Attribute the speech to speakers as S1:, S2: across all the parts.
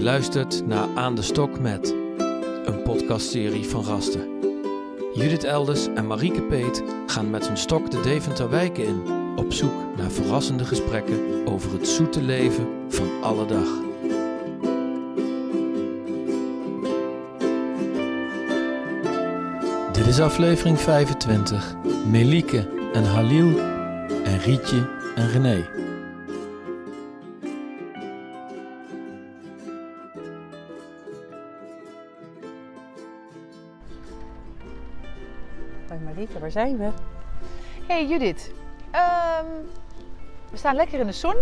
S1: luistert naar Aan de Stok met, een podcastserie van gasten. Judith Elders en Marieke Peet gaan met hun stok de Deventer wijken in, op zoek naar verrassende gesprekken over het zoete leven van alle dag. Dit is aflevering 25, Melieke en Halil en Rietje en René.
S2: Hoi Marieke, waar zijn we?
S3: Hey Judith, Ehm, we staan lekker in de zon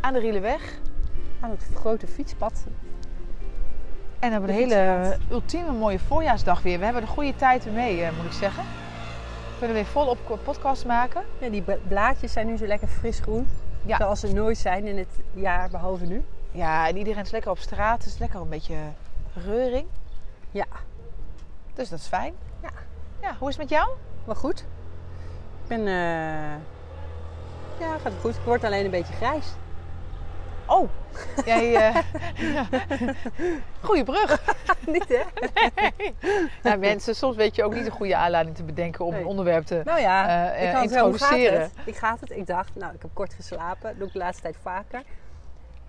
S3: aan de Rieleweg
S2: Aan het grote fietspad.
S3: en hebben een
S2: De
S3: hele ultieme mooie voorjaarsdag weer. We hebben de goede tijd weer mee, eh, moet ik zeggen. We kunnen weer volop ko- podcast maken.
S2: Ja, die bla- blaadjes zijn nu zo lekker frisgroen.
S3: Ja.
S2: Zoals ze nooit zijn in het jaar, behalve nu.
S3: Ja, en iedereen is lekker op straat, dus lekker een beetje reuring.
S2: Ja.
S3: Dus dat is fijn.
S2: Ja.
S3: Ja, hoe is het met jou?
S2: Maar goed. Ik ben... eh, Ja, gaat goed. Ik word alleen een beetje grijs.
S3: Oh, jij... eh Goeie brug.
S2: Niet hè?
S3: Nou mensen, soms weet je ook niet een goede aanleiding te bedenken om een
S2: Nee.
S3: onderwerp te...
S2: Nou ja,
S3: Eh, eh,
S2: ik had wel gaat
S3: introduceren.
S2: het? Ik gaat het. Ik dacht, nou ik heb kort geslapen. doe ik de laatste tijd vaker.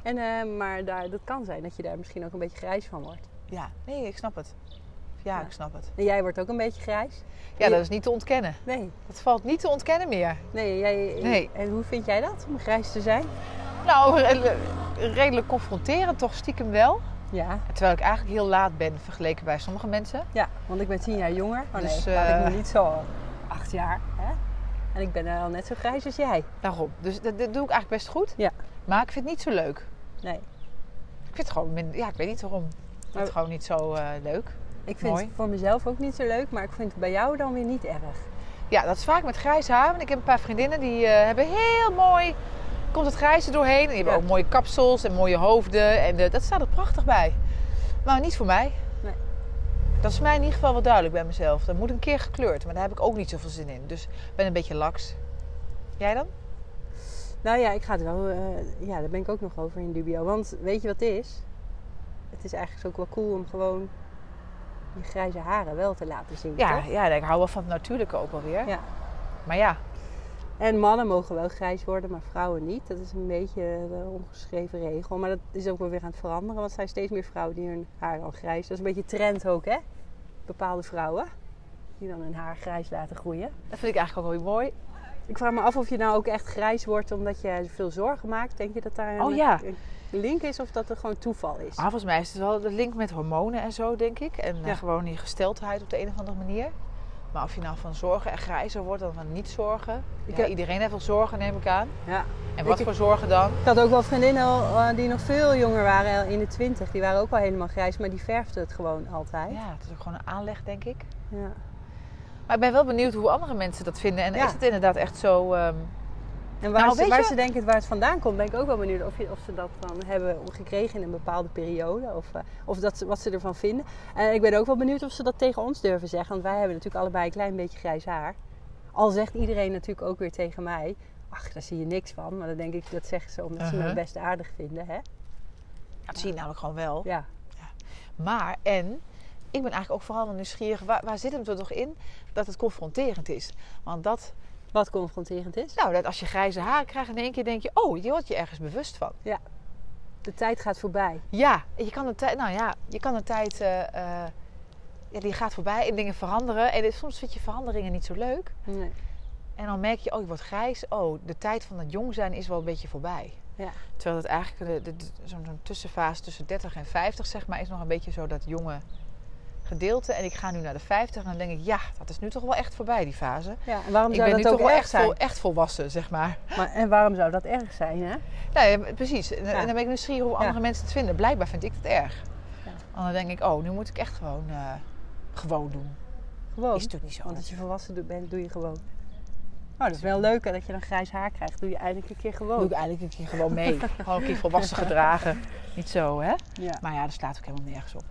S2: En, eh, maar daar, dat kan zijn dat je daar misschien ook een beetje grijs van wordt.
S3: Ja, nee, ik snap het. Ja,
S2: Ja.
S3: ik snap het.
S2: En jij wordt ook een beetje grijs?
S3: Ja, dat is niet te ontkennen.
S2: Nee.
S3: Dat valt niet te ontkennen meer.
S2: Nee, jij,
S3: Nee.
S2: En hoe vind jij dat om grijs te zijn?
S3: Nou, redelijk- redelijk confronterend toch stiekem wel.
S2: Ja.
S3: Terwijl ik eigenlijk heel laat ben vergeleken bij sommige mensen.
S2: Ja, want ik ben tien jaar jonger. Oh
S3: Dus,
S2: nee, laat ik
S3: eh,
S2: me niet zo. Acht jaar, hè? En ik ben eh, al net zo grijs als jij.
S3: Daarom. Dus dat, dat doe ik eigenlijk best goed.
S2: Ja.
S3: Maar ik vind het niet zo leuk.
S2: Nee.
S3: Ik vind het gewoon minder... Ja, ik weet niet waarom. Ik vind het
S2: Maar-
S3: gewoon niet zo eh, leuk.
S2: Ik vind
S3: Mooi.
S2: het voor mezelf ook niet zo leuk, maar ik vind het bij jou dan weer niet erg.
S3: Ja, dat is vaak met grijs haar. Want ik heb een paar vriendinnen die eh, hebben heel mooi... Komt het grijze doorheen. En die hebben
S2: Ja.
S3: ook mooie kapsels en mooie hoofden. En eh, dat staat er prachtig bij. Maar niet voor mij.
S2: Nee.
S3: Dat is mij in ieder geval wel duidelijk bij mezelf. Dat moet een keer gekleurd. Maar daar heb ik ook niet zoveel zin in. Dus ik ben een beetje laks. Jij dan?
S2: Nou ja, ik ga het wel. eh, ja, daar ben ik ook nog over in dubio. Want weet je wat het is? Het is eigenlijk ook wel cool om gewoon je grijze haren wel te laten zien.
S3: Ja,
S2: toch?
S3: ja, ik hou wel van het natuurlijke ook alweer.
S2: Ja.
S3: Maar ja,
S2: En mannen mogen wel grijs worden, maar vrouwen niet. Dat is een beetje de ongeschreven regel. Maar dat is ook wel weer aan het veranderen. Want er zijn steeds meer vrouwen die hun haar dan grijs... Dat is een beetje trend ook, hè? Bepaalde vrouwen die dan hun haar grijs laten groeien.
S3: dat vind ik eigenlijk ook wel weer mooi.
S2: Ik vraag me af of je nou ook echt grijs wordt omdat je veel zorgen maakt. Denk je dat daar een,
S3: Oh ja.
S2: een link is of dat er gewoon toeval is?
S3: Maar Ah, volgens mij is het wel de link met hormonen en zo, denk ik. En eh,
S2: Ja.
S3: gewoon die gesteldheid op de een of andere manier. Maar of je nou van zorgen en grijzer wordt dan van niet zorgen.
S2: Ik
S3: Ja,
S2: heb-
S3: iedereen heeft wel zorgen, neem ik aan.
S2: Ja.
S3: En wat
S2: Ik-
S3: voor zorgen dan?
S2: Ik had ook wel vriendinnen al, eh, die nog veel jonger waren, al in de twintig. Die waren ook al helemaal grijs, maar die verfden het gewoon altijd.
S3: Ja, het is ook gewoon een aanleg, denk ik.
S2: Ja.
S3: Maar ik ben wel benieuwd hoe andere mensen dat vinden. En
S2: Ja.
S3: is het inderdaad echt zo... ehm,
S2: En waar,
S3: Nou,
S2: ze,
S3: weet
S2: waar
S3: je-
S2: ze denken het- waar het vandaan komt, ben ik ook wel benieuwd of, je, of ze dat dan hebben gekregen in een bepaalde periode. Of, eh, of dat, ze- wat ze ervan vinden. En ik ben ook wel benieuwd of ze dat tegen ons durven zeggen. Want wij hebben natuurlijk allebei een klein beetje grijs haar. Al zegt iedereen natuurlijk ook weer tegen mij. Ach, daar zie je niks van. Maar dan denk ik, dat zeggen ze omdat ze
S3: Uh-huh.
S2: me best aardig vinden. Hè?
S3: dat zie je namelijk gewoon wel.
S2: Ja.
S3: Maar, en, ik ben eigenlijk ook vooral wel nieuwsgierig. Waar, waar zit hem er toch in dat het confronterend is? Want dat...
S2: Wat confronterend is.
S3: Nou, dat als je grijze haar krijgt, in één keer denk je, oh, je wordt je ergens bewust van.
S2: De tijd gaat voorbij.
S3: Ja, je kan de tijd, nou ja, je kan de tijd, eh, eh, ja, die gaat voorbij en dingen veranderen. En dit- soms vind je veranderingen niet zo leuk.
S2: Nee.
S3: En dan merk je, oh, je wordt grijs. Oh, de tijd van het jong zijn is wel een beetje voorbij.
S2: Ja.
S3: Terwijl het eigenlijk de- de- de- zo'n zo'n tussenfase tussen 30 en 50, zeg maar, is nog een beetje zo dat jonge gedeelte. En ik ga nu naar de 50 en dan denk ik, ja, dat is nu toch wel echt voorbij, die fase.
S2: Ja, en waarom
S3: Ik
S2: zou
S3: ben nu
S2: dat
S3: toch
S2: ook
S3: wel
S2: erg
S3: echt,
S2: zijn?
S3: vol, echt volwassen, zeg maar.
S2: Maar, en waarom zou dat erg zijn? Hè?
S3: Nou ja, precies. En, en dan ben ik nieuwsgierig hoe andere
S2: Ja.
S3: mensen het vinden. Blijkbaar vind ik het erg.
S2: Ja.
S3: En dan denk ik, oh, nu moet ik echt gewoon, eh, gewoon doen.
S2: Gewoon.
S3: Oh. Is natuurlijk niet zo.
S2: Want als Oh, je volwassen do- bent, doe je gewoon. Oh, dat is wel leuk hè, dat je dan grijs haar krijgt. Doe je eindelijk een keer
S3: Doe ik
S2: gewoon.
S3: eigenlijk een keer gewoon mee. gewoon een keer volwassen gedragen. Niet zo, hè?
S2: Ja.
S3: Maar ja, dat slaat ook helemaal nergens op.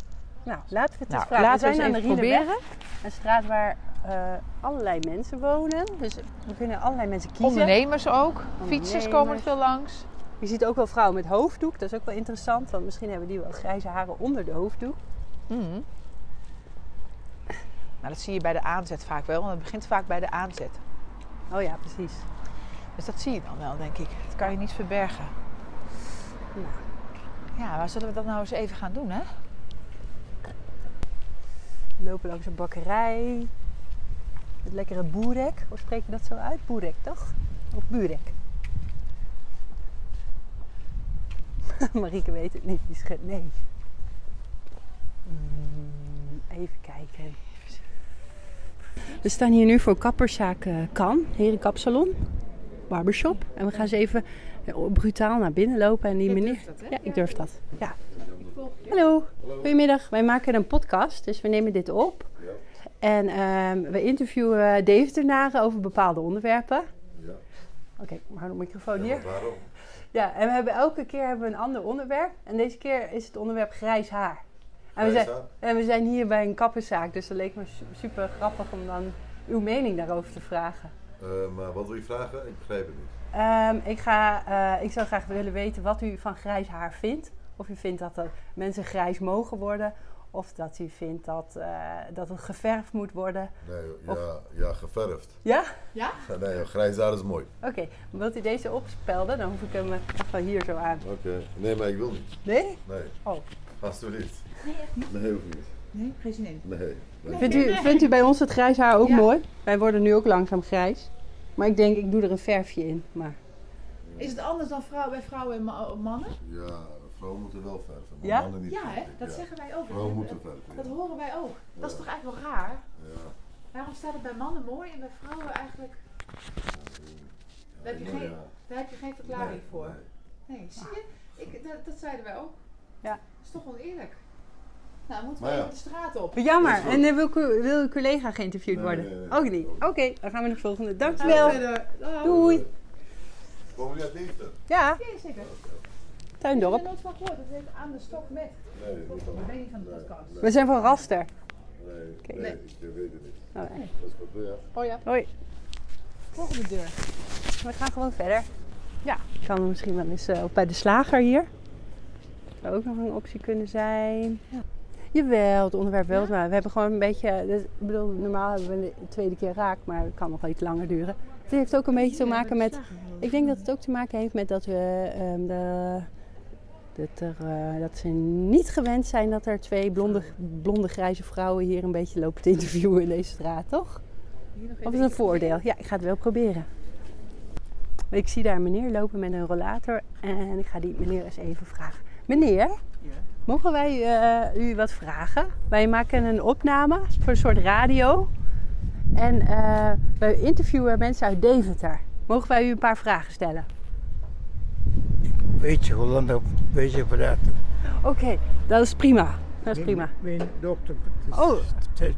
S2: Nou, laten we het eens
S3: Nou,
S2: vragen.
S3: laten we
S2: we zijn
S3: eens
S2: aan
S3: even
S2: de Rieleweg, een straat waar eh, allerlei mensen wonen. Dus we kunnen allerlei mensen kiezen.
S3: Ondernemers ook. Fietsers komen er
S2: Ondernemers.
S3: veel langs.
S2: Je ziet ook wel vrouwen met hoofddoek. Dat is ook wel interessant, want misschien hebben die wel grijze haren onder de hoofddoek.
S3: Mhm. Maar dat zie je bij de aanzet vaak wel, want het begint vaak bij de aanzet.
S2: Oh ja, precies.
S3: Dus dat zie je dan wel, denk ik. Dat kan je niet verbergen.
S2: Nou.
S3: Ja, waar zullen we dat nou eens even gaan doen, hè?
S2: We lopen langs een bakkerij. Het lekkere boerek. Hoe spreek je dat zo uit? Boerek, toch? Of burek? Marieke weet het niet. Die schet nee. Mm, Even kijken. We staan hier nu voor kapperszaak eh, Kan, Herenkapsalon, barbershop. En we gaan eens even eh, brutaal naar binnen lopen en die meneer... Ja, ik durf dat. Ja. Hallo. Goedemiddag, wij maken een podcast, dus we nemen dit op. En ehm, we interviewen Deventer-naren over bepaalde onderwerpen.
S4: Ja.
S2: Oké, maar hou de microfoon hier.
S4: Waarom?
S2: Ja, en we hebben elke keer hebben we een ander onderwerp. En deze keer is het onderwerp grijs haar. En we,
S4: Grijs
S2: zijn,
S4: haar?
S2: en we zijn hier bij een kapperszaak, dus dat leek me su- super grappig om dan uw mening daarover te vragen.
S4: Eh, maar wat wil je vragen? Ik begrijp het niet.
S2: Ehm, ik, ga, eh, ik zou graag willen weten wat u van grijs haar vindt. Of u vindt dat er mensen grijs mogen worden. Of dat u vindt dat, eh, dat het geverfd moet worden.
S4: Nee, ja, ja geverfd.
S2: Ja?
S4: Ja, Nee, joh, grijs haar is mooi.
S2: Oké. Wilt u deze opspelden? Dan hoef ik hem eh, van hier zo aan.
S4: Oké. Nee, maar ik wil niet.
S2: Nee?
S4: Nee.
S2: Oh.
S4: Alsjeblieft. Nee, hoeft niet.
S3: Nee, geen zin in.
S4: Nee. nee.
S2: Vindt u, vindt u bij ons het grijs haar ook
S3: Ja.
S2: mooi? Wij worden nu ook langzaam grijs. Maar ik denk, ik doe er een verfje in. Maar...
S3: Is het anders dan vrouw, bij vrouwen en ma- oh, mannen?
S4: Ja, vrouwen moeten wel verven. Maar
S2: Ja?
S4: Mannen niet.
S3: Ja,
S4: vind
S3: hè?
S4: ik,
S3: Dat
S4: ja.
S3: zeggen wij ook.
S4: Vrouwen moeten
S3: dat,
S4: verven.
S3: dat
S4: ja.
S3: horen wij ook. Dat is
S4: Ja.
S3: toch eigenlijk wel raar?
S4: Ja.
S3: Waarom staat het bij mannen mooi en bij vrouwen eigenlijk... Daar heb je
S4: Ja,
S3: geen,
S4: ja.
S3: daar heb je geen verklaring
S4: Nee, Ah.
S3: voor.
S4: nee.
S3: Nee, zie je? Ik, dat, dat zeiden wij ook.
S2: Ja.
S3: Dat is toch oneerlijk. Nou, moeten we
S4: Maar ja.
S3: even de straat op.
S4: Dat is
S2: Jammer.
S4: goed.
S2: En eh, wil, uw- wil uw collega geïnterviewd
S4: Nee,
S2: worden?
S4: nee, nee.
S2: Ook niet. Oké, dan gaan we naar de volgende. Dankjewel.
S3: Gaan we verder. Dag.
S2: Doei.
S4: Komen jullie uit Deventer?
S2: Ja,
S3: Ja, zeker. Ik heb
S2: tuindorp.
S3: er nooit van gehoord. Dat heet aan de stok met.
S4: Nee, niet dan.
S3: Ik weet niet van de
S4: Nee,
S3: podcast.
S4: nee,
S2: We zijn van Raster.
S4: Nee, nee,
S2: Nee.
S4: ik weet het niet.
S2: Oh, nee.
S4: Dat is goed, ja.
S3: Oh ja,
S2: Hoi,
S3: volgende deur.
S2: we gaan gewoon verder. Ja, ik kan misschien wel eens eh, op bij de slager hier. Zou ook nog een optie kunnen zijn. Jawel, het onderwerp wel, maar we hebben gewoon een beetje... dus, Ik bedoel, normaal hebben we de tweede keer raak, maar het kan nog wel iets langer duren. Het heeft ook een beetje te maken met... Ik denk dat het ook te maken heeft met dat we... ehm, de, dat, er, eh, dat ze niet gewend zijn dat er twee blonde, blonde grijze vrouwen hier een beetje lopen te interviewen in deze straat, toch?
S3: Hier nog
S2: Of is
S3: even.
S2: het een voordeel? Ja, ik ga het wel proberen. Ik zie daar een meneer lopen met een rollator en ik ga die meneer eens even vragen. Meneer, mogen wij eh, u wat vragen? Wij maken een opname voor een soort radio en eh, wij interviewen mensen uit Deventer. Mogen wij u een paar vragen stellen?
S5: Beetje Holland op, beetje praten.
S2: Oké, dat is prima. Dat is prima.
S5: Mijn, mijn dochter.
S2: Oh.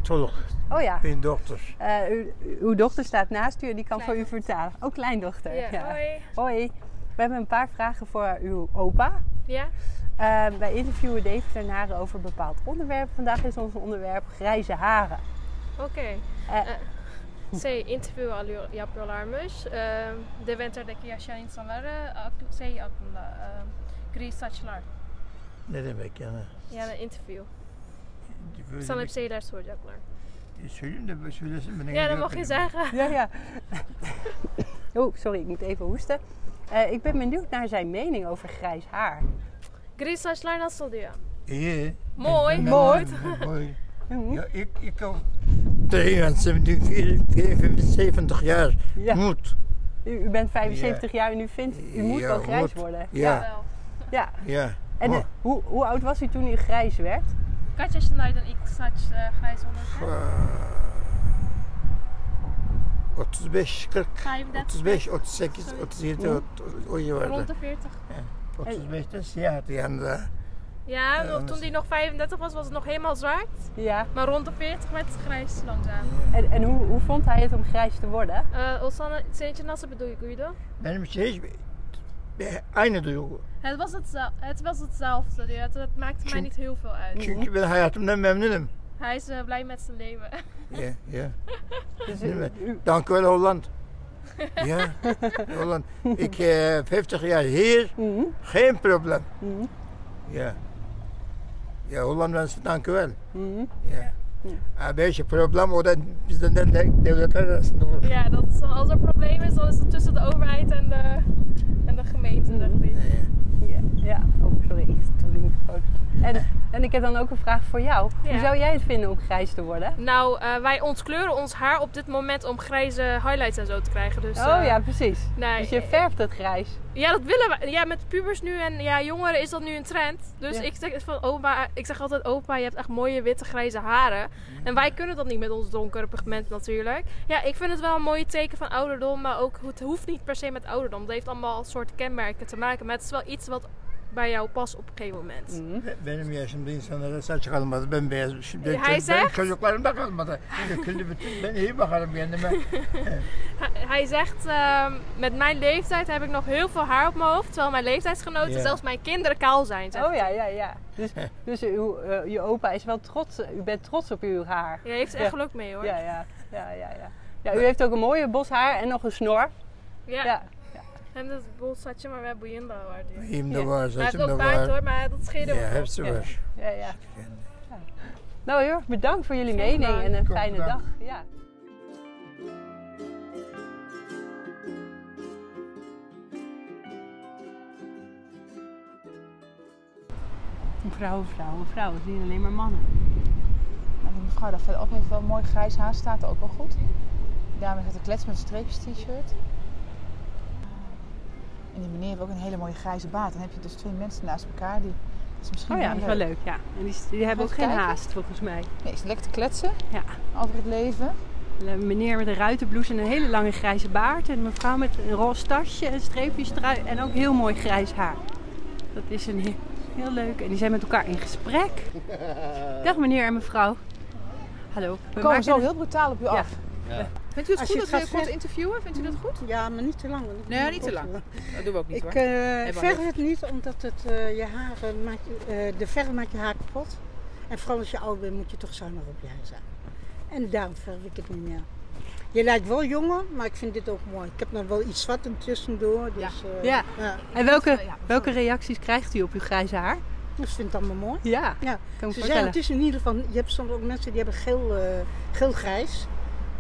S5: Tolk,
S2: Oh ja,
S5: mijn dochters.
S2: eh, uw, uw dochter staat naast u en die kan voor u vertalen. Oh, kleindochter.
S6: Ja.
S2: ja.
S6: Hoi.
S2: Hoi, we hebben een paar vragen voor uw opa.
S6: Ja?
S2: Eh, wij interviewen Deventenaren over een bepaald onderwerp. Vandaag is ons onderwerp grijze haren.
S6: Okej.
S2: Eh.
S6: Zij interviewen al jouw- jouw programma's. Eh, De winter dat ik je in salare, zij ook ehm, grijs saçlar.
S5: Ne demek yani?
S6: Yani interview.
S5: Böyle
S6: Sana bir
S5: bir,
S6: şeyler soracaklar.
S5: söyleyeyim de böyle söylesin. Ben
S6: Ja, dat mag je zeggen.
S2: Ja, ja. oh, sorry, ik moet even hoesten. Eh, ik ben benieuwd naar zijn mening over grijs haar.
S6: Grijs saçlar nasıl diyor?
S5: İyi.
S6: Mooi.
S5: Mooi.
S2: Hm?
S5: Ja, ik, ik al 73, 74 jaar.
S2: Ja.
S5: Moet.
S2: U, u bent 75 jaar en u vindt, u moet
S5: Ja,
S2: wel grijs
S5: moet.
S2: worden.
S5: Ja,
S6: Wel.
S2: ja.
S5: ja.
S2: En
S5: Oh,
S2: eh, hoe, hoe oud was u toen u grijs werd?
S6: Kaç yaşındaydın ilk saç eh, grijs olurken?
S5: Eh, ah, 35, 40,
S6: Kaybeder.
S5: 35, 38,
S6: Sorry.
S5: 37, o, o civarda.
S6: Rond de 40.
S5: 35'te siyahtı yanında.
S6: Ja,
S5: Eh,
S6: toen die nog 35 was, was het nog helemaal zwart.
S2: Ja.
S6: Maar rond de 40 werd het grijs langzaam.
S2: En, en hoe, hoe vond hij het om grijs te worden?
S6: Eh Osana, sentje nasıl bedoel je, Guido?
S5: Benim için hiç bir- aynı duygu.
S6: Het was, hetzel- het was hetzelfde. ja. Het, het maakte mij
S5: Tjoe.
S6: niet heel veel uit.
S5: Çünkü ben hayatımdan memnunum.
S6: Hij is eh, blij met zijn leven.
S5: Ya, ya.
S2: Dus u-
S5: Değil mi?
S2: u-
S5: Dank u wel Holland. Ja, Holland. Ik eh 50 jaar hier, geen probleem. Ja. Ja, Holland mensen, dank u wel. Ja. Een beetje probleem, maar dan is het net de de- de-
S6: Ja, dat is, als er probleem is, dan is het tussen de overheid en de, en de gemeente, dacht ik.
S5: Ja.
S2: Ja, ja. Oh, sorry, ik doe de microfoon. En, en ik heb dan ook een vraag voor jou. Hoe
S6: Ja.
S2: zou jij het vinden om grijs te worden?
S6: Nou, eh, wij ontkleuren ons haar op dit moment om grijze highlights en zo te krijgen. Dus,
S2: oh
S6: eh,
S2: ja, precies.
S6: nee,
S2: dus je
S6: eh,
S2: verft het grijs.
S6: Ja, dat willen we. Ja, met pubers nu en ja, jongeren is dat nu een trend. Dus
S2: Ja.
S6: ik zeg van opa, ik zeg altijd opa, je hebt echt mooie witte grijze haren.
S2: Mm.
S6: En wij kunnen dat niet met ons donkere pigment natuurlijk. Ja, ik vind het wel een mooie teken van ouderdom, maar ook het hoeft niet per se met ouderdom. Het heeft allemaal soort kenmerken te maken, maar het is wel iets wat bij jou past op een gegeven moment.
S2: Mm.
S5: Benim yaşımda insanlara saç kalmadı. Ben beyaz. Şimdi
S6: Ya, Hayzer?
S5: benim çocuklarımda kalmadı. Döküldü bütün. Ben iyi bakarım kendime.
S6: Hij- Hij zegt, ehm, met mijn leeftijd heb ik nog heel veel haar op mijn hoofd, terwijl mijn leeftijdsgenoten,
S5: Ja.
S6: zelfs mijn kinderen kaal zijn. zegt
S2: Oh ja, ja, ja. Dus, dus uw, eh, je opa is wel trots. U bent trots op uw haar.
S6: hij. Je heeft er
S2: Ja.
S6: echt geluk mee hoor.
S2: Ja, ja, ja, ja. ja. Ja, u heeft ook een mooie bos haar en nog een snor.
S6: Ja.
S2: Ja.
S6: Hem dat bolsatje, maar we hebben boeiende haar. dus.
S5: Benim
S2: Ya.
S5: de var,
S6: Hij heeft
S5: saçım
S6: ook
S5: da
S6: baard
S5: var.
S6: hoor, maar dat scheelde
S5: Ya,
S6: wel.
S5: hepsi
S2: Ya.
S5: var.
S2: Ja, ja. Ja. Nou, heel erg bedankt voor jullie
S6: Geen
S2: mening
S6: dank.
S2: en een
S5: Ook
S2: fijne dag.
S5: bedankt.
S2: Ja. Een vrouw, een vrouw, een vrouw. Het is niet alleen maar mannen.
S3: En die mevrouw daar verderop heeft wel mooi grijs haar, staat er ook wel goed. Die dame heeft een klets met een streepjes t-shirt. En die meneer heeft ook een hele mooie grijze baard. Dan heb je dus twee mensen naast elkaar. Die, dat is misschien
S2: Oh ja, dat is wel leuk, ja. En die, die hebben ook
S3: Even
S2: geen
S3: kijken.
S2: haast, volgens mij.
S3: Nee, is lekker te kletsen
S2: Ja.
S3: over het leven.
S2: Een meneer met een ruitenblouse en een hele lange grijze baard. En een mevrouw met een roze tasje en streepjes trui. En ook heel mooi grijs haar. Dat is een heel, heel leuk. En die zijn met elkaar in gesprek. Dag meneer en mevrouw. Hallo. We
S3: We
S2: maken
S3: komen zo
S2: het-
S3: heel brutaal op u af. Vindt u het
S7: Als
S3: goed
S7: je het
S3: dat we
S7: gaat
S3: je kort
S7: ver-
S3: interviewen? Vindt u dat goed?
S7: Ja, maar niet te lang. want ik
S3: Nee,
S7: vind
S3: niet
S7: het
S3: te
S7: ook,
S3: lang.
S7: eh,
S3: Dat doen we ook niet
S7: Ik
S3: hoor.
S7: eh
S3: maar
S7: verf het niet, omdat het, eh, je haren maakt, je- eh, de verf maakt je haar kapot. En vooral als je oud bent, moet je toch zuinig op je haar zijn. En daarom verf ik het niet meer. Je lijkt wel jonger, maar ik vind dit ook mooi. Ik heb nog wel iets zwart tussendoor. Dus, eh,
S2: Ja.
S7: ja.
S2: En welke, welke reacties krijgt u op uw grijze haar?
S7: Ik vind het allemaal mooi.
S2: Ja,
S7: Ja.
S2: kan ik
S7: Ze zeggen,
S2: vertellen.
S7: het is in ieder geval, je hebt soms ook mensen die hebben geel, eh, geel-grijs.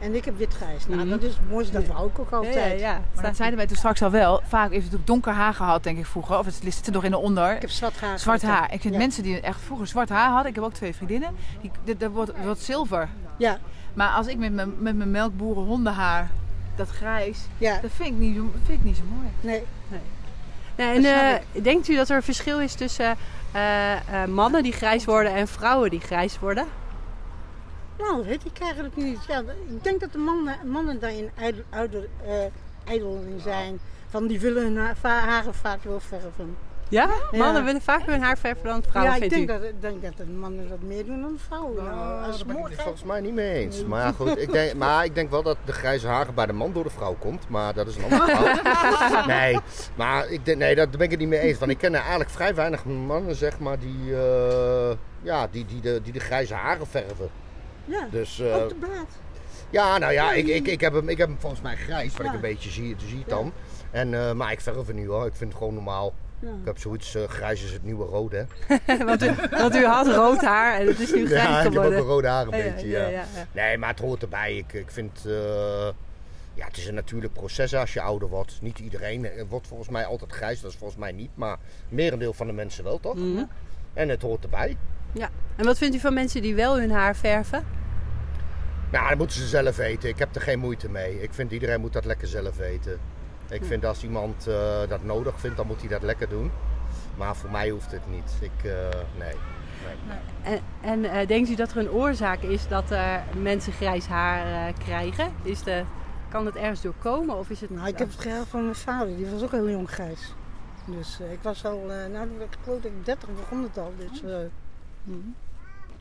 S7: en ik heb wit-grijs. Nou,
S2: Mhm.
S7: dat is het mooiste, dat wou ik ook
S2: Ja,
S7: altijd.
S2: ja, ja.
S3: Maar dat zeiden wij toen straks al wel. Vaak heeft het ook donker haar gehad, denk ik vroeger. Of het zit er nog in de onder.
S7: Ik heb zwart haar.
S3: Zwart
S7: altijd.
S3: haar. Ik vind
S7: Ja.
S3: mensen die echt vroeger zwart haar hadden. Ik heb ook twee vriendinnen. Die, dat- dat wordt, wordt zilver.
S7: Ja,
S3: Maar als ik met mijn, met mijn melkboerenhondenhaar, dat grijs,
S7: ja.
S3: dat vind ik niet, zo- vind ik niet zo mooi.
S7: Nee,
S2: Nou, en
S3: dat snap
S2: eh, denkt u dat er een verschil is tussen eh, eh, mannen die grijs worden en vrouwen die grijs worden?
S7: Nou, dat weet ik eigenlijk niet. Ja, ik denk dat de mannen, mannen daarin ijdel, ouder, eh, ijdel in zijn. Van die willen hun ha- va- haren vaak wel verven.
S2: Ja?
S7: Ja.
S2: Mannen willen vaak hun haar verven dan vrouwen,
S7: ja, ik
S2: vindt
S7: denk
S2: u?
S7: dat, ik denk dat de mannen dat meer doen dan de vrouwen. Nou, als
S8: Daar
S7: ze
S8: ben ik
S7: mooi
S8: het
S7: gaan-
S8: volgens mij niet mee eens. Maar ja, goed, ik denk, maar ik denk wel dat de grijze haren bij de man door de vrouw komt. Maar dat is een ander verhaal. Nee, maar ik denk, nee, dat ben ik het niet mee eens. Want ik ken er eigenlijk vrij weinig mannen, zeg maar, die, eh, ja, die, die, de, die de grijze haren verven.
S7: Ja,
S8: Dus eh,
S2: Oh,
S7: ook de baard.
S8: ja, nou ja, ik, ik, ik, heb hem, ik heb hem volgens mij grijs, wat ik
S7: Ja.
S8: een beetje zie, zie het dan. En, eh, maar ik verf het nu hoor, ik vind het gewoon normaal.
S7: Ja.
S8: Ik heb zoiets, eh, grijs is het nieuwe rood hè.
S2: Want u, want u had rood haar en het is nu grijs
S8: Ja, ik heb ook een
S2: geworden. Oh
S8: rode haar een
S2: Ja, ja,
S8: beetje, ja.
S2: ja, ja, ja.
S8: Nee, maar het hoort erbij. Ik, ik vind, eh, ja, het is een natuurlijk proces als je ouder wordt. Niet iedereen eh, wordt volgens mij altijd grijs, dat is volgens mij niet. Maar merendeel van de mensen wel, toch? En het hoort erbij.
S2: Ja. En wat vindt u van mensen die wel hun haar verven?
S8: Nou, dat moeten ze zelf weten. Ik heb er geen moeite mee. Ik vind, iedereen moet dat lekker zelf weten. Ik vind, als iemand eh, dat nodig vindt, dan moet hij dat lekker doen. Maar voor mij hoeft het niet. Ik, eh, nee.
S2: En, en eh, denkt u dat er een oorzaak is dat eh, mensen grijs haar eh, krijgen? Is de, kan dat ergens door komen? Of is het...
S7: Nou, ik heb het gehaald van mijn vader, die was ook heel jong grijs. Dus eh, ik was al, eh nou, ik geloof dat ik 30 begon het al.
S2: Oh.
S7: Dus, eh,
S2: Mhm.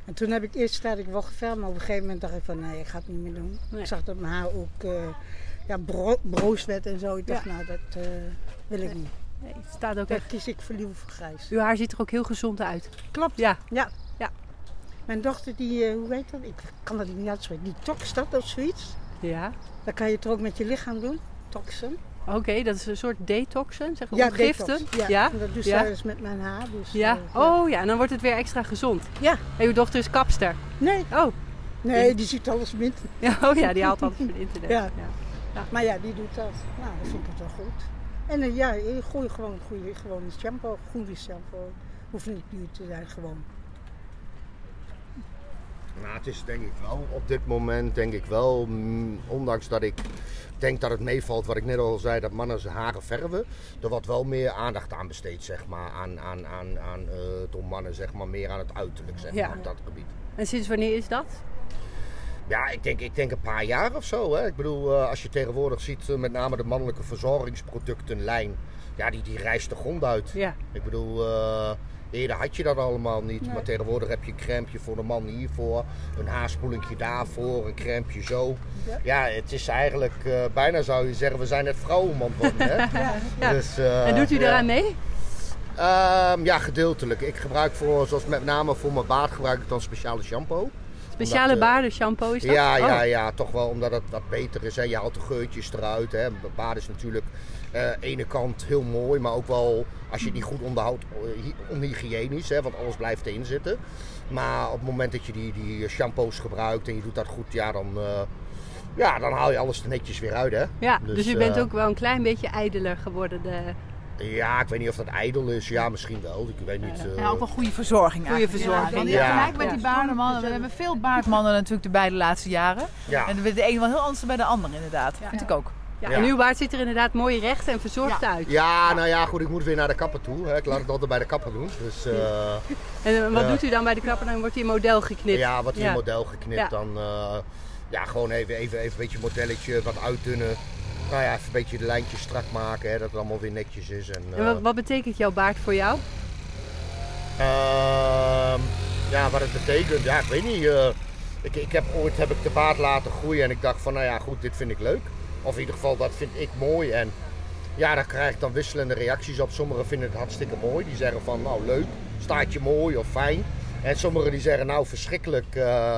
S7: En toen heb ik eerst tijd ik wel geverfd, maar op een gegeven moment dacht ik van nee, ik ga het niet meer doen.
S2: Nee.
S7: Ik zag dat mijn haar ook eh, ja, bro- broos werd en zo. Ik dacht, nou, dat eh, wil ik niet.
S2: Nee, het staat ook
S7: Daar
S2: echt...
S7: kies ik voor liever voor grijs.
S2: Uw haar ziet er ook heel gezond uit.
S7: Klopt.
S2: Ja.
S7: Ja.
S2: Ja.
S7: Mijn dochter, die, eh, hoe heet dat? Ik kan dat niet uitspreken. Die tokstat of zoiets.
S2: Ja.
S7: Dat kan je toch ook met je lichaam doen? detoxen.
S2: Oké, dat is een soort detoxen, zeg maar.
S7: Ja,
S2: ontgiften.
S7: detox. Ja,
S2: ja.
S7: en dat doe
S2: ja.
S7: zij dus met mijn haar. Dus,
S2: Ja.
S7: eh,
S2: Oh ja, en dan wordt het weer extra gezond.
S7: Ja.
S2: En uw dochter is kapster.
S7: Nee,
S2: Oh,
S7: nee, die ziet alles minder.
S2: ja, oh ja die haalt altijd van internet.
S7: Ja. Maar ja, die doet dat. Nou, dat vind ik wel goed. En eh, ja, je gooi gewoon goede gewoon shampoo. Goede shampoo. Hoeft niet duur te zijn, gewoon.
S8: Nou, het is denk ik wel op dit moment, denk ik wel, mm, ondanks dat ik denk dat het meevalt, wat ik net al zei, dat mannen zijn haren verven, er wordt wel meer aandacht aan besteed, zeg maar, aan, aan, aan, aan eh, door mannen, zeg maar, meer aan het uiterlijk, zeg
S2: Ja.
S8: maar, op dat gebied.
S2: En sinds wanneer is dat?
S8: Ja, ik denk, ik denk een paar jaar of zo. Hè. Ik bedoel, eh, als je tegenwoordig ziet, eh, met name de mannelijke verzorgingsproductenlijn, ja, die, die rijst de grond uit.
S2: Ja.
S8: Ik bedoel, eh, eerder had je dat allemaal niet. Maar tegenwoordig heb je een crèmeje voor de man hiervoor, een haarspoelinkje daarvoor, een crèmeje zo. Ja, het is eigenlijk, eh, bijna zou je zeggen, we zijn net vrouwenman worden. Hè?
S2: Ja.
S8: Dus, eh,
S2: en doet u
S8: ja.
S2: daaraan mee?
S8: Ehm, ja, gedeeltelijk. Ik gebruik voor, zoals met name voor mijn baard, gebruik ik dan speciale shampoo.
S2: Speciale
S8: Omdat, eh,
S2: baardenshampoo is dat?
S8: Ja,
S2: Oh.
S8: ja, ja, toch wel omdat het wat beter is. Hè. Je haalt de geurtjes eruit. Hè. Baden is natuurlijk eh, aan de ene kant heel mooi, maar ook wel als je die goed onderhoudt, eh, hy- onhygiënisch, hè, want alles blijft erin zitten. Maar op het moment dat je die, die eh, shampoos gebruikt en je doet dat goed, ja, dan, eh, ja, dan haal je alles er netjes weer uit. Hè.
S2: Ja, dus, u
S8: eh,
S2: bent ook wel een klein beetje ijdeler geworden. De
S8: Ja, ik weet niet of dat ijdel is. Ja, misschien wel. Ik weet niet. eh,
S3: En
S2: Nou,
S3: ook wel goede verzorging
S2: Goede
S3: eigenlijk.
S2: verzorging,
S3: want in
S8: ja.
S3: vergelijking met die
S2: Ja.
S3: baardenmannen, we hebben veel baardmannen natuurlijk erbij de laatste jaren.
S8: ja.
S3: En dan werd de een wel heel anders dan bij de ander inderdaad. Vind ik ook.
S2: ja,
S8: Ja.
S2: En uw baard ziet er inderdaad mooi recht en verzorgd uit.
S8: ja, nou ja, goed, ik moet weer naar de kapper toe. Hè. Ik laat het altijd bij de kapper doen. Dus, eh,
S2: En eh, wat
S8: Ja.
S2: doet u dan bij de krapper? Dan wordt hij model geknipt.
S8: Ja, wat in
S2: Ja.
S8: model geknipt.
S2: Ja.
S8: Dan eh, ja, gewoon even, even, even een beetje modelletje, wat uitdunnen. Nou ja, even een beetje de lijntjes strak maken, hè, dat het allemaal weer netjes is. En,
S2: En
S8: eh,
S2: wat, wat betekent jouw baard voor jou?
S8: ehm, ja, wat het betekent, ja, ik weet niet. eh, ik, ik heb ooit heb ik de baard laten groeien en ik dacht van, nou ja, goed, dit vind ik leuk. Of in ieder geval, dat vind ik mooi. En ja, daar krijg ik dan wisselende reacties op. Sommigen vinden het hartstikke mooi. Die zeggen van, nou leuk, staat je mooi of fijn. En sommigen die zeggen, nou verschrikkelijk. eh,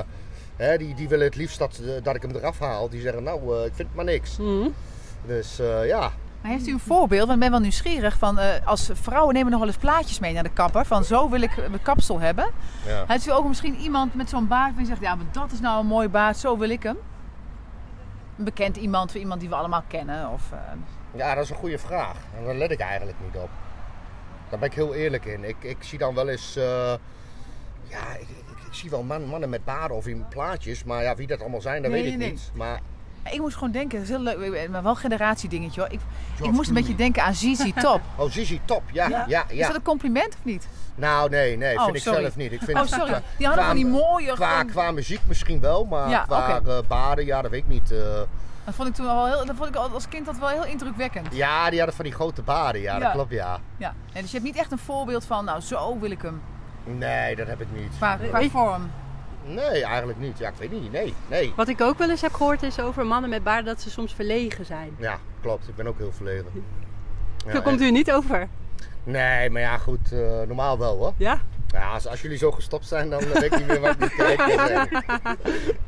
S8: hè, die, die willen het liefst dat, eh, dat ik hem eraf haal. Die zeggen, nou, eh, ik vind het maar niks. Dus eh, ja,
S3: Maar heeft u een voorbeeld? Want ik ben wel nieuwsgierig. Van, eh, als vrouwen nemen nog wel eens plaatjes mee naar de kapper. Van zo wil ik eh, mijn kapsel hebben.
S8: Ja.
S3: Heeft u ook misschien iemand met zo'n baard die zegt... Ja, maar dat is nou een mooi baard. Zo wil ik hem. Een bekend iemand, iemand die we allemaal kennen. Of, eh,
S8: Ja, dat is een goede vraag. En daar let ik eigenlijk niet op. Daar ben ik heel eerlijk in. Ik, ik zie dan wel eens. eh, ja, ik, ik, ik zie wel man- mannen met baden of in plaatjes. Maar ja, wie dat allemaal zijn, dat
S3: Nee,
S8: weet ik
S3: nee, nee.
S8: niet. Maar
S3: Ik moest gewoon denken, dat is heel leuk, eh, maar wel een generatiedingetje hoor. Ik, ik
S8: George
S3: moest een beetje denken aan Zizi Top.
S8: Oh, Zizi, top. Ja, ja, ja.
S3: Is dat een compliment of niet?
S8: Nou, nee, nee.
S3: Oh,
S8: vind ik
S3: sorry.
S8: zelf niet. Ik vind
S3: Oh, sorry. Die
S8: qua-
S3: hadden van die mooie...
S8: Qua,
S3: gewoon-
S8: qua muziek misschien wel, maar
S3: Ja,
S8: qua
S3: oké.
S8: eh, baden, ja, dat weet ik niet. eh.
S3: Dat vond ik toen al heel... Dat vond ik al- als kind dat wel heel indrukwekkend.
S8: ja, die hadden van die grote baden, ja,
S3: Ja.
S8: dat klopt, ja.
S3: Ja. Nee, dus je hebt niet echt een voorbeeld van, nou zo wil ik hem.
S8: Nee, dat heb ik niet.
S3: Qua, qua vorm.
S8: Nee, eigenlijk niet. Ja, ik weet niet. Nee, nee.
S2: Wat ik ook wel eens heb gehoord is over mannen met baarden dat ze soms verlegen zijn.
S8: Ja, klopt. Ik ben ook heel verlegen. Ja,
S2: Zo
S8: en-
S2: komt u niet over.
S8: Nee, maar ja, goed, eh, normaal wel hoor.
S2: Ja?
S8: Ja, als, als jullie zo gestopt zijn, dan eh, weet ik niet meer wat ik moet kijken.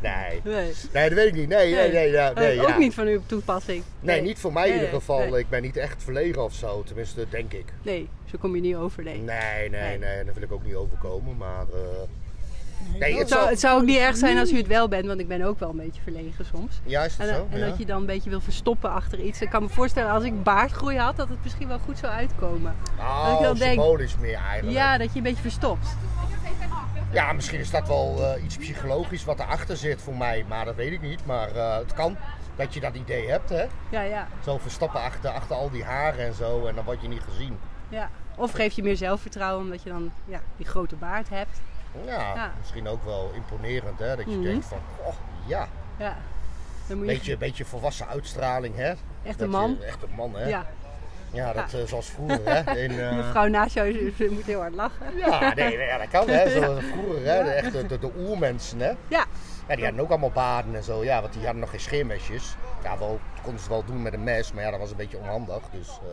S8: Nee.
S2: Nee. Eh,
S8: nee, dat weet ik niet. Nee, nee, nee. ja, nee,
S2: ook
S8: ja.
S2: niet van uw toepassing.
S8: Nee, niet voor mij in
S2: Nee,
S8: ieder
S2: nee,
S8: geval.
S2: nee.
S8: Ik ben niet echt verlegen of zo, tenminste, denk ik.
S2: Nee, zo kom je niet over. Nee.
S8: Nee,
S2: Nee.
S8: nee, nee, dat wil ik ook niet overkomen, maar. eh, nee,
S2: Het
S8: het
S2: zou,
S8: zal.
S2: het zou ook niet erg zijn als u het wel bent, want ik ben ook wel een beetje verlegen soms.
S8: Ja, is dat
S2: En, eh,
S8: zo?
S2: en
S8: Ja.
S2: dat je dan een beetje wil verstoppen achter iets. Ik kan me voorstellen, als ik baardgroei had, dat het misschien wel goed zou uitkomen. dat ik
S8: Oh,
S2: wel denk-
S8: symbolisch meer eigenlijk.
S2: Ja, dat je een beetje verstopt.
S8: Ja, misschien is dat wel eh, iets psychologisch wat erachter zit voor mij, maar dat weet ik niet. Maar eh, het kan dat je dat idee hebt, hè?
S2: Ja, ja,
S8: Zo verstappen achter, achter al die haren en zo, en dan word je niet gezien.
S2: ja. Of geef je meer zelfvertrouwen omdat je dan ja, die grote baard hebt.
S8: Ja,
S2: Ja. Mhm.
S8: misschien ook wel imponerend, hè? Dat je denkt van, oh ja,
S2: Ja. Dan moet je
S8: beetje, beetje volwassen uitstraling, hè?
S2: echt
S8: Dat
S2: een
S8: je-
S2: man.
S8: echt een man, hè?
S2: Ja,
S8: Ja, dat eh, zoals vroeger, hè? In, eh,
S2: de vrouw naast jou is- is- moet heel hard lachen.
S8: Ja, nee, nee, ja, dat kan, hè? Zoals vroeger, hè? De, echt de, de, de oermensen, hè?
S2: Ja,
S8: Ja, die hadden ook allemaal baden en zo, ja, want die hadden nog geen scheermesjes. Ja, wel, konden ze wel doen met een mes, maar ja, dat was een beetje onhandig. Dus eh,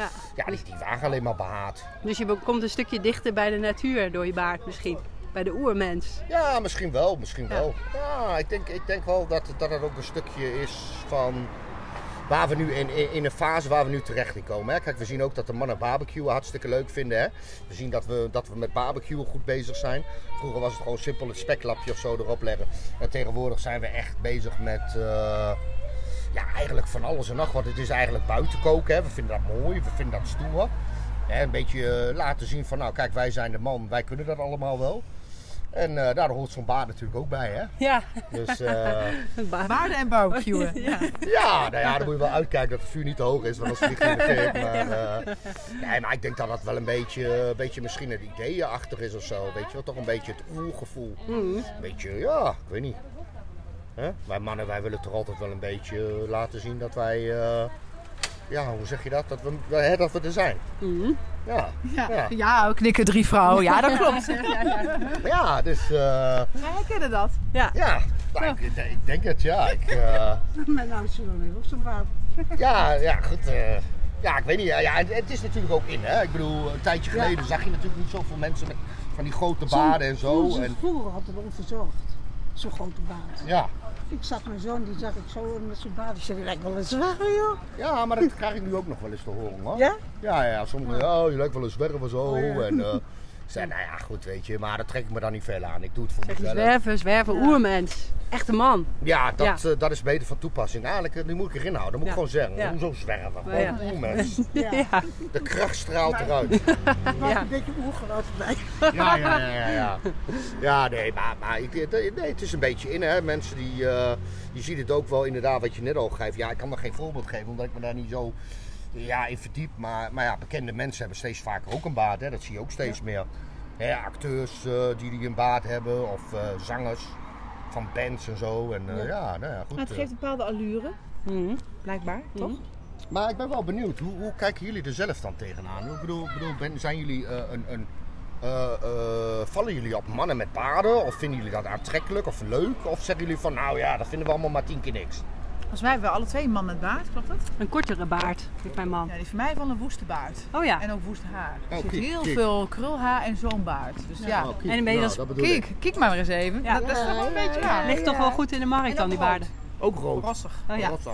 S2: ja.
S8: ja, die, die waren alleen maar behaard.
S2: Dus je komt een stukje dichter bij de natuur door je baard misschien. Bij de oermens.
S8: Ja, misschien wel, misschien wel. Ja, ik denk, ik denk wel dat, dat het ook een stukje is van waar we nu in, in, in een fase waar we nu terecht in komen. Hè. Kijk, we zien ook dat de mannen barbecue hartstikke leuk vinden. Hè. We zien dat we, dat we met barbecue goed bezig zijn. Vroeger was het gewoon simpel het speklapje of zo erop leggen. En tegenwoordig zijn we echt bezig met. eh, ja, eigenlijk van alles en nog wat. Het is eigenlijk buiten koken. Hè. We vinden dat mooi, we vinden dat stoer. Hè, een beetje eh, laten zien van, nou kijk, wij zijn de man, wij kunnen dat allemaal wel. En eh, daar hoort zo'n baan natuurlijk ook bij, hè?
S2: Ja,
S8: Dus eh,
S3: Waarde en barbecuen.
S8: ja, nou ja, dan moet je wel uitkijken dat het vuur niet te hoog is, want als vliegt in de kerk. Maar, eh, nee, maar ik denk dat dat wel een beetje, een beetje misschien het idee achter is of zo. Weet je wel, toch een beetje het oergevoel. Een beetje, ja, ik weet niet. Hè? Wij mannen, wij willen toch altijd wel een beetje eh, laten zien dat wij, eh, ja, hoe zeg je dat? Dat we, hè, dat we er zijn. Ja,
S3: Ja.
S8: Ja.
S3: ja, knikken drie vrouwen. Ja, dat klopt.
S8: ja, dus eh,
S3: Wij herkennen dat.
S8: ja, nou, ik, ik denk het, ja. Ik, eh,
S7: Mijn ouders zullen weer op zijn baan.
S8: Ja, ja, goed. eh, ja, ik weet niet. Ja, ja, het, het is natuurlijk ook in, hè. Ik bedoel, een tijdje geleden zag je natuurlijk niet zoveel mensen met van die grote baden en zo.
S7: Vroeger,
S8: Oh, En,
S7: vroeger hadden we onverzorgd. Zo'n grote baard.
S8: ja.
S7: Ik zag mijn zoon, die zag ik zo met zijn baard. Ik zei, die lijkt wel een zwaar, joh.
S8: ja, maar dat krijg ik nu ook nog wel eens te horen, hoor.
S7: Ja?
S8: Ja, ja, sommigen, oh, je lijkt wel een zwerver of zo. En, eh ik zei, nou ja, goed, weet je, maar dat trek ik me dan niet veel aan. Ik doe het voor mezelf.
S2: zwerven, zwerven, oermens. Echte man.
S8: Ja, dat, eh, dat is beter van toepassing. Eigenlijk, eh, die moet ik erin houden. Dat moet ik gewoon
S2: Ja.
S8: zeggen. Hoezo zwerven?
S2: Ja.
S8: Gewoon oeh, mens.
S7: Ja.
S8: De kracht straalt eruit.
S7: Ik was een beetje oergeloofd bij.
S8: Ja, ja, ja, ja. Ja, ja nee, maar, maar ik, nee, het is een beetje in, hè. Mensen die, eh, je ziet het ook wel inderdaad wat je net al geeft. Ja, ik kan er geen voorbeeld geven, omdat ik me daar niet zo ja, in verdiep. Maar, maar ja, bekende mensen hebben steeds vaker ook een baard, hè. Dat zie je ook steeds meer. Hè, acteurs eh, die, die een baard hebben, of eh, zangers van bands en zo. En eh, ja. nou ja, goed.
S9: Maar het
S8: eh.
S9: geeft een bepaalde allure, blijkbaar, toch?
S8: Maar ik ben wel benieuwd, hoe, hoe kijken jullie er zelf dan tegenaan? Ik bedoel, ik bedoel ben, zijn jullie eh, een. een eh, eh, vallen jullie op mannen met paarden? Of vinden jullie dat aantrekkelijk of leuk? Of zeggen jullie van, nou ja, dat vinden we allemaal maar tien keer niks?
S3: Volgens mij hebben we alle twee een man met baard, klopt dat?
S2: Een kortere baard heeft mijn man.
S3: Ja, die van mij heeft wel een woeste baard.
S2: Oh ja,
S3: En ook woest haar. Er
S8: Oh,
S3: zit
S8: kijk,
S3: heel
S8: kijk.
S3: veel krulhaar en zo'n baard. Dus ja,
S8: Oh, kijk,
S2: En een beetje
S8: nou,
S2: als-
S8: dat bedoel ik.
S3: kijk, kijk maar weer eens even.
S2: Ja.
S3: Ja, dat is toch wel een beetje ja,
S2: ligt toch wel goed in de markt
S3: En
S2: dan,
S3: dan
S2: die
S3: rood.
S2: baarden.
S8: Ook rood.
S3: rossig.
S2: Oh ja.
S8: Rotsig.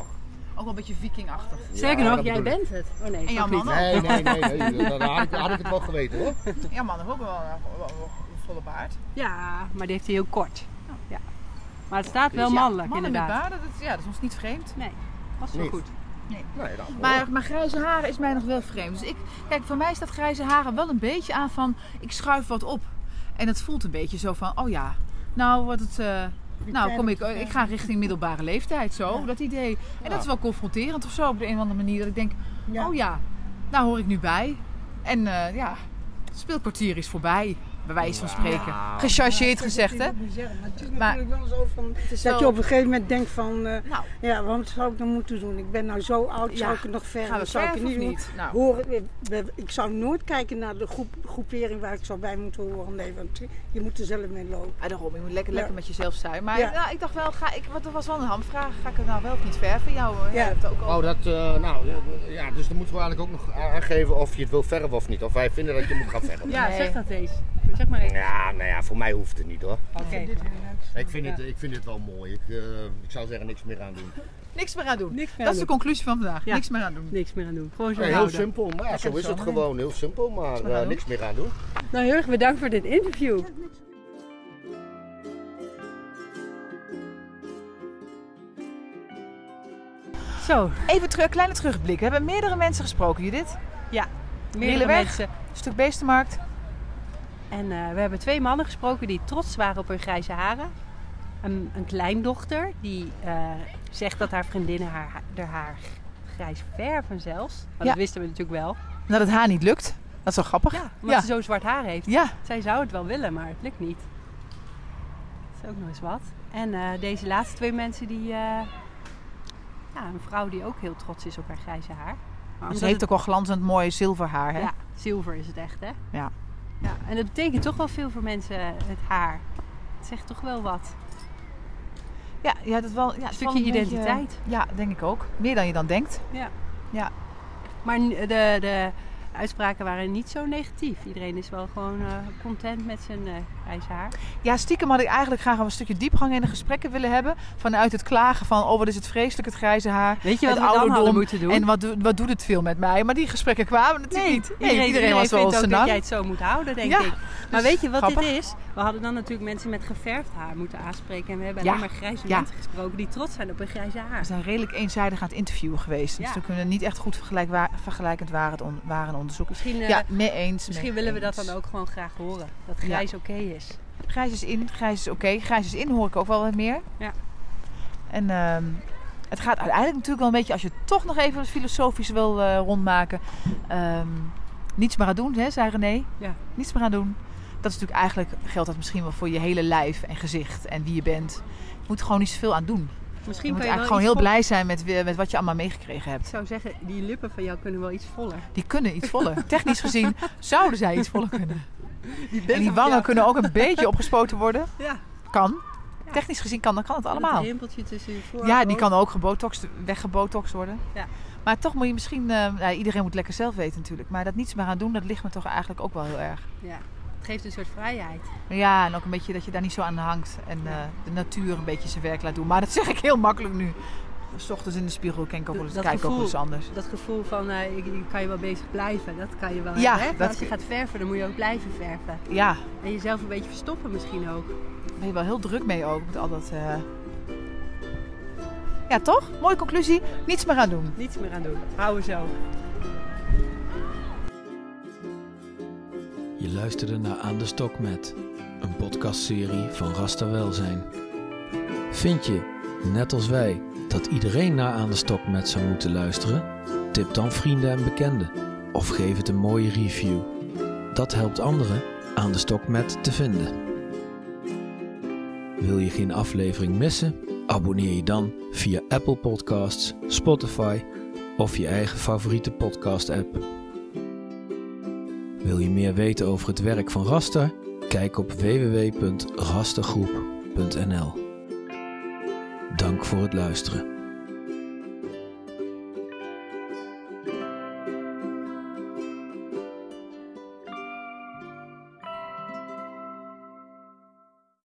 S3: Ook wel een beetje vikingachtig.
S2: Zeker
S8: Ja,
S2: nog,
S8: dat
S2: jij
S8: bedoel ik.
S2: bent het. Oh nee,
S3: En
S2: toch
S3: jouw
S2: niet.
S3: man ook.
S8: Nee, nee, nee, nee. Dan had ik, had ik het wel geweten hoor.
S3: Ja, man heeft ook wel een, wel- wel- wel een volle baard.
S2: Ja, maar die heeft hij heel kort. Ja. Maar het staat wel
S3: Dus ja,
S2: mannelijk
S3: Oh. mannen
S2: inderdaad.
S3: met baarden, dat, ja, dat is ons niet vreemd.
S2: Was wel
S8: Nee.
S2: goed.
S8: Nee, dat
S3: Maar, maar grijze haren is mij nog wel vreemd. Dus ik, kijk, voor mij staat grijze haren wel een beetje aan van, ik schuif wat op. En dat voelt een beetje zo van, oh ja, nou wordt het... eh, nou, kom ik, ik ga richting middelbare leeftijd, zo, dat idee. En dat is wel confronterend of zo, op de een of andere manier. Dat ik denk,
S7: Ja.
S3: oh ja, daar hoor ik nu bij. En eh, ja, het speelkwartier is voorbij, bij wijze van spreken. Gechargeerd gezegd, hè?
S7: Dat moet ik zeggen, Maar het is
S3: Maar-
S7: natuurlijk wel zo van,
S3: Het is
S7: dat
S3: wel-
S7: je op een gegeven moment denkt van, eh,
S3: Nou,
S7: ja, wat zou ik nou moeten doen? Ik ben nou zo oud,
S3: Ja.
S7: zou ik het nog verder,
S3: gaan we
S7: zou ik
S3: verven
S7: het niet
S3: of
S7: doen?
S3: niet? Nou.
S7: Horen, eh, we- ik zou nooit kijken naar de groep, groepering waar ik zou bij moeten horen. Nee, want je moet er zelf mee lopen.
S3: Ah, daarom, je moet lekker,
S7: Ja.
S3: lekker met jezelf zijn. Maar
S7: Ja.
S3: nou, ik dacht wel, ga ik, want dat was wel een hamvraag. Ga ik het nou wel of niet verven? Jou, eh,
S7: Ja.
S3: jij hebt het ook over.
S8: Oh, dat, eh, nou, ja, dus dan moeten we eigenlijk ook nog aangeven of je het wil verven of niet. Of wij vinden dat je moet gaan verven.
S2: Ja,
S3: Nee.
S2: zeg dat eens. Zeg maar eens.
S8: Ja, nou ja, voor mij hoeft het niet hoor.
S2: Oké.
S8: Ik vind, het, ik vind het wel mooi. Ik, eh, ik zou zeggen niks meer aan doen.
S3: Niks meer aan doen.
S2: Niks
S3: dat
S2: meer aan
S3: is de
S2: doen.
S3: conclusie van vandaag.
S2: Ja.
S3: Niks meer aan doen.
S2: Niks meer aan doen. Gewoon zo
S8: heel
S2: houden.
S8: simpel, maar ja, zo is het gewoon. Heel simpel, maar
S3: we gaan
S8: eh,
S3: doen.
S8: niks meer aan doen.
S2: Nou, heel erg bedankt voor dit interview. Zo,
S3: Even terug, kleine terugblik. We hebben meerdere mensen gesproken, Judith.
S2: meerdere
S3: weg.
S2: mensen.
S3: Stuk Beestenmarkt.
S2: En eh, we hebben twee mannen gesproken die trots waren op hun grijze haren. Een, een kleindochter die eh, zegt dat haar vriendinnen haar, ha- haar haar grijs verven zelfs. Maar
S3: Ja.
S2: dat wisten we natuurlijk wel.
S3: Nou, dat haar niet lukt. Dat is wel grappig.
S2: Ja, omdat
S3: ja.
S2: ze zo zwart haar heeft.
S3: Ja.
S2: Zij zou het wel willen, maar het lukt niet. Dat is ook nog eens wat. En eh, deze laatste twee mensen, die, eh, ja, een vrouw die ook heel trots is op haar grijze haar. Maar
S3: Ze
S2: omdat
S3: heeft
S2: het-
S3: ook al glanzend mooi zilver haar, hè?
S2: Ja, zilver is het echt, hè?
S3: Ja.
S2: ja. En dat betekent toch wel veel voor mensen, het haar. Het zegt toch wel wat.
S3: ja, ja, dat wel. Ja, het
S2: Een
S3: is
S2: stukje
S3: wel een beetje-
S2: identiteit.
S3: ja, denk ik ook. Meer dan je dan denkt.
S2: Maar nu- de, de uitspraken waren niet zo negatief. Iedereen is wel gewoon eh, content met zijn eh grijze haar.
S3: Ja, stiekem had ik eigenlijk graag een stukje diepgang in de gesprekken willen hebben. Vanuit het klagen van, oh wat is het vreselijk, het grijze haar.
S2: Weet je wat
S3: het
S2: we dan
S3: ouderdom
S2: hadden moeten doen?
S3: En wat, doe- wat doet het veel met mij? Maar die gesprekken kwamen natuurlijk niet. Nee,
S2: iedereen, iedereen
S3: was wel
S2: vindt ook dat
S3: senang.
S2: jij het zo moet houden, denk
S3: Ja,
S2: ik. Maar
S3: dus
S2: weet je wat
S3: grappig.
S2: dit is? We hadden dan natuurlijk mensen met geverfd haar moeten aanspreken. En we hebben
S3: Ja,
S2: alleen maar grijze
S3: ja.
S2: mensen gesproken die trots zijn op hun grijze
S3: We
S2: haar.
S3: zijn redelijk eenzijdig aan het interviewen geweest. Dus
S2: Ja.
S3: toen kunnen we niet echt goed vergelijkwa- vergelijkend waren, het on- waren onderzoeken.
S2: Misschien, eh,
S3: Ja, mee eens.
S2: misschien
S3: mee
S2: willen we dat
S3: eens.
S2: dan ook gewoon graag horen. Dat grijs oké is.
S3: Grijs is in, grijs is oké. Grijs is in hoor ik ook wel wat meer.
S2: Ja.
S3: En ehm, het gaat uiteindelijk natuurlijk wel een beetje, als je toch nog even wat filosofisch wil eh, rondmaken. ehm, niets maar aan doen, hè, zei René.
S2: Ja.
S3: Niets maar aan doen. Dat is natuurlijk eigenlijk, geldt dat misschien wel voor je hele lijf en gezicht en wie je bent. Je moet er gewoon niet zoveel aan doen. Je
S2: Misschien
S3: moet
S2: kan je
S3: eigenlijk
S2: wel
S3: gewoon
S2: iets
S3: heel
S2: voller-
S3: blij zijn met, wie- met wat je allemaal meegekregen hebt.
S2: Ik zou zeggen, die lippen van jou kunnen wel iets voller.
S3: Die kunnen iets voller. Technisch gezien zouden zij iets voller kunnen. en die
S2: van
S3: wangen
S2: jou.
S3: kunnen ook een beetje opgespoten worden.
S2: Ja.
S3: Kan. Technisch gezien kan, dan kan het
S2: Dat
S3: allemaal.
S2: rimpeltje tussen je voor.
S3: Ja, die kan ook gebotoxed, weggebotoxed worden.
S2: Ja.
S3: Maar toch moet je misschien... eh, nou, iedereen moet lekker zelf weten natuurlijk. Maar dat niets meer aan doen, dat ligt me toch eigenlijk ook wel heel erg.
S2: Het geeft een soort vrijheid.
S3: Ja, en ook een beetje dat je daar niet zo aan hangt. En eh, de natuur een beetje zijn werk laat doen. Maar dat zeg ik heel makkelijk nu. S ochtends in de spiegel ken ik ook wel eens,
S2: Dat
S3: kijk ik ook wel eens
S2: gevoel.
S3: anders.
S2: Dat gevoel van, eh, ik, ik kan je wel bezig blijven. Dat kan je wel
S3: Ja,
S2: hebben. hè?
S3: dat-
S2: Als je gaat verven, dan moet je ook blijven verven.
S3: Ja,
S2: En jezelf een beetje verstoppen misschien ook.
S3: Daar ben je wel heel druk mee ook. Met al dat. eh. Ja, toch? Mooie conclusie. Niets meer aan doen.
S2: Niets meer aan doen. Houden zo.
S1: Je luisterde naar Aan de Stok met, een podcastserie van Rasta Welzijn. Vind je, net als wij, dat iedereen naar Aan de Stok met zou moeten luisteren? Tip dan vrienden en bekenden of geef het een mooie review. Dat helpt anderen Aan de Stok met te vinden. Wil je geen aflevering missen? Abonneer je dan via Apple Podcasts, Spotify of je eigen favoriete podcast-app. Wil je meer weten over het werk van Raster? Kijk op www.rastergroep.nl. Dank voor het luisteren.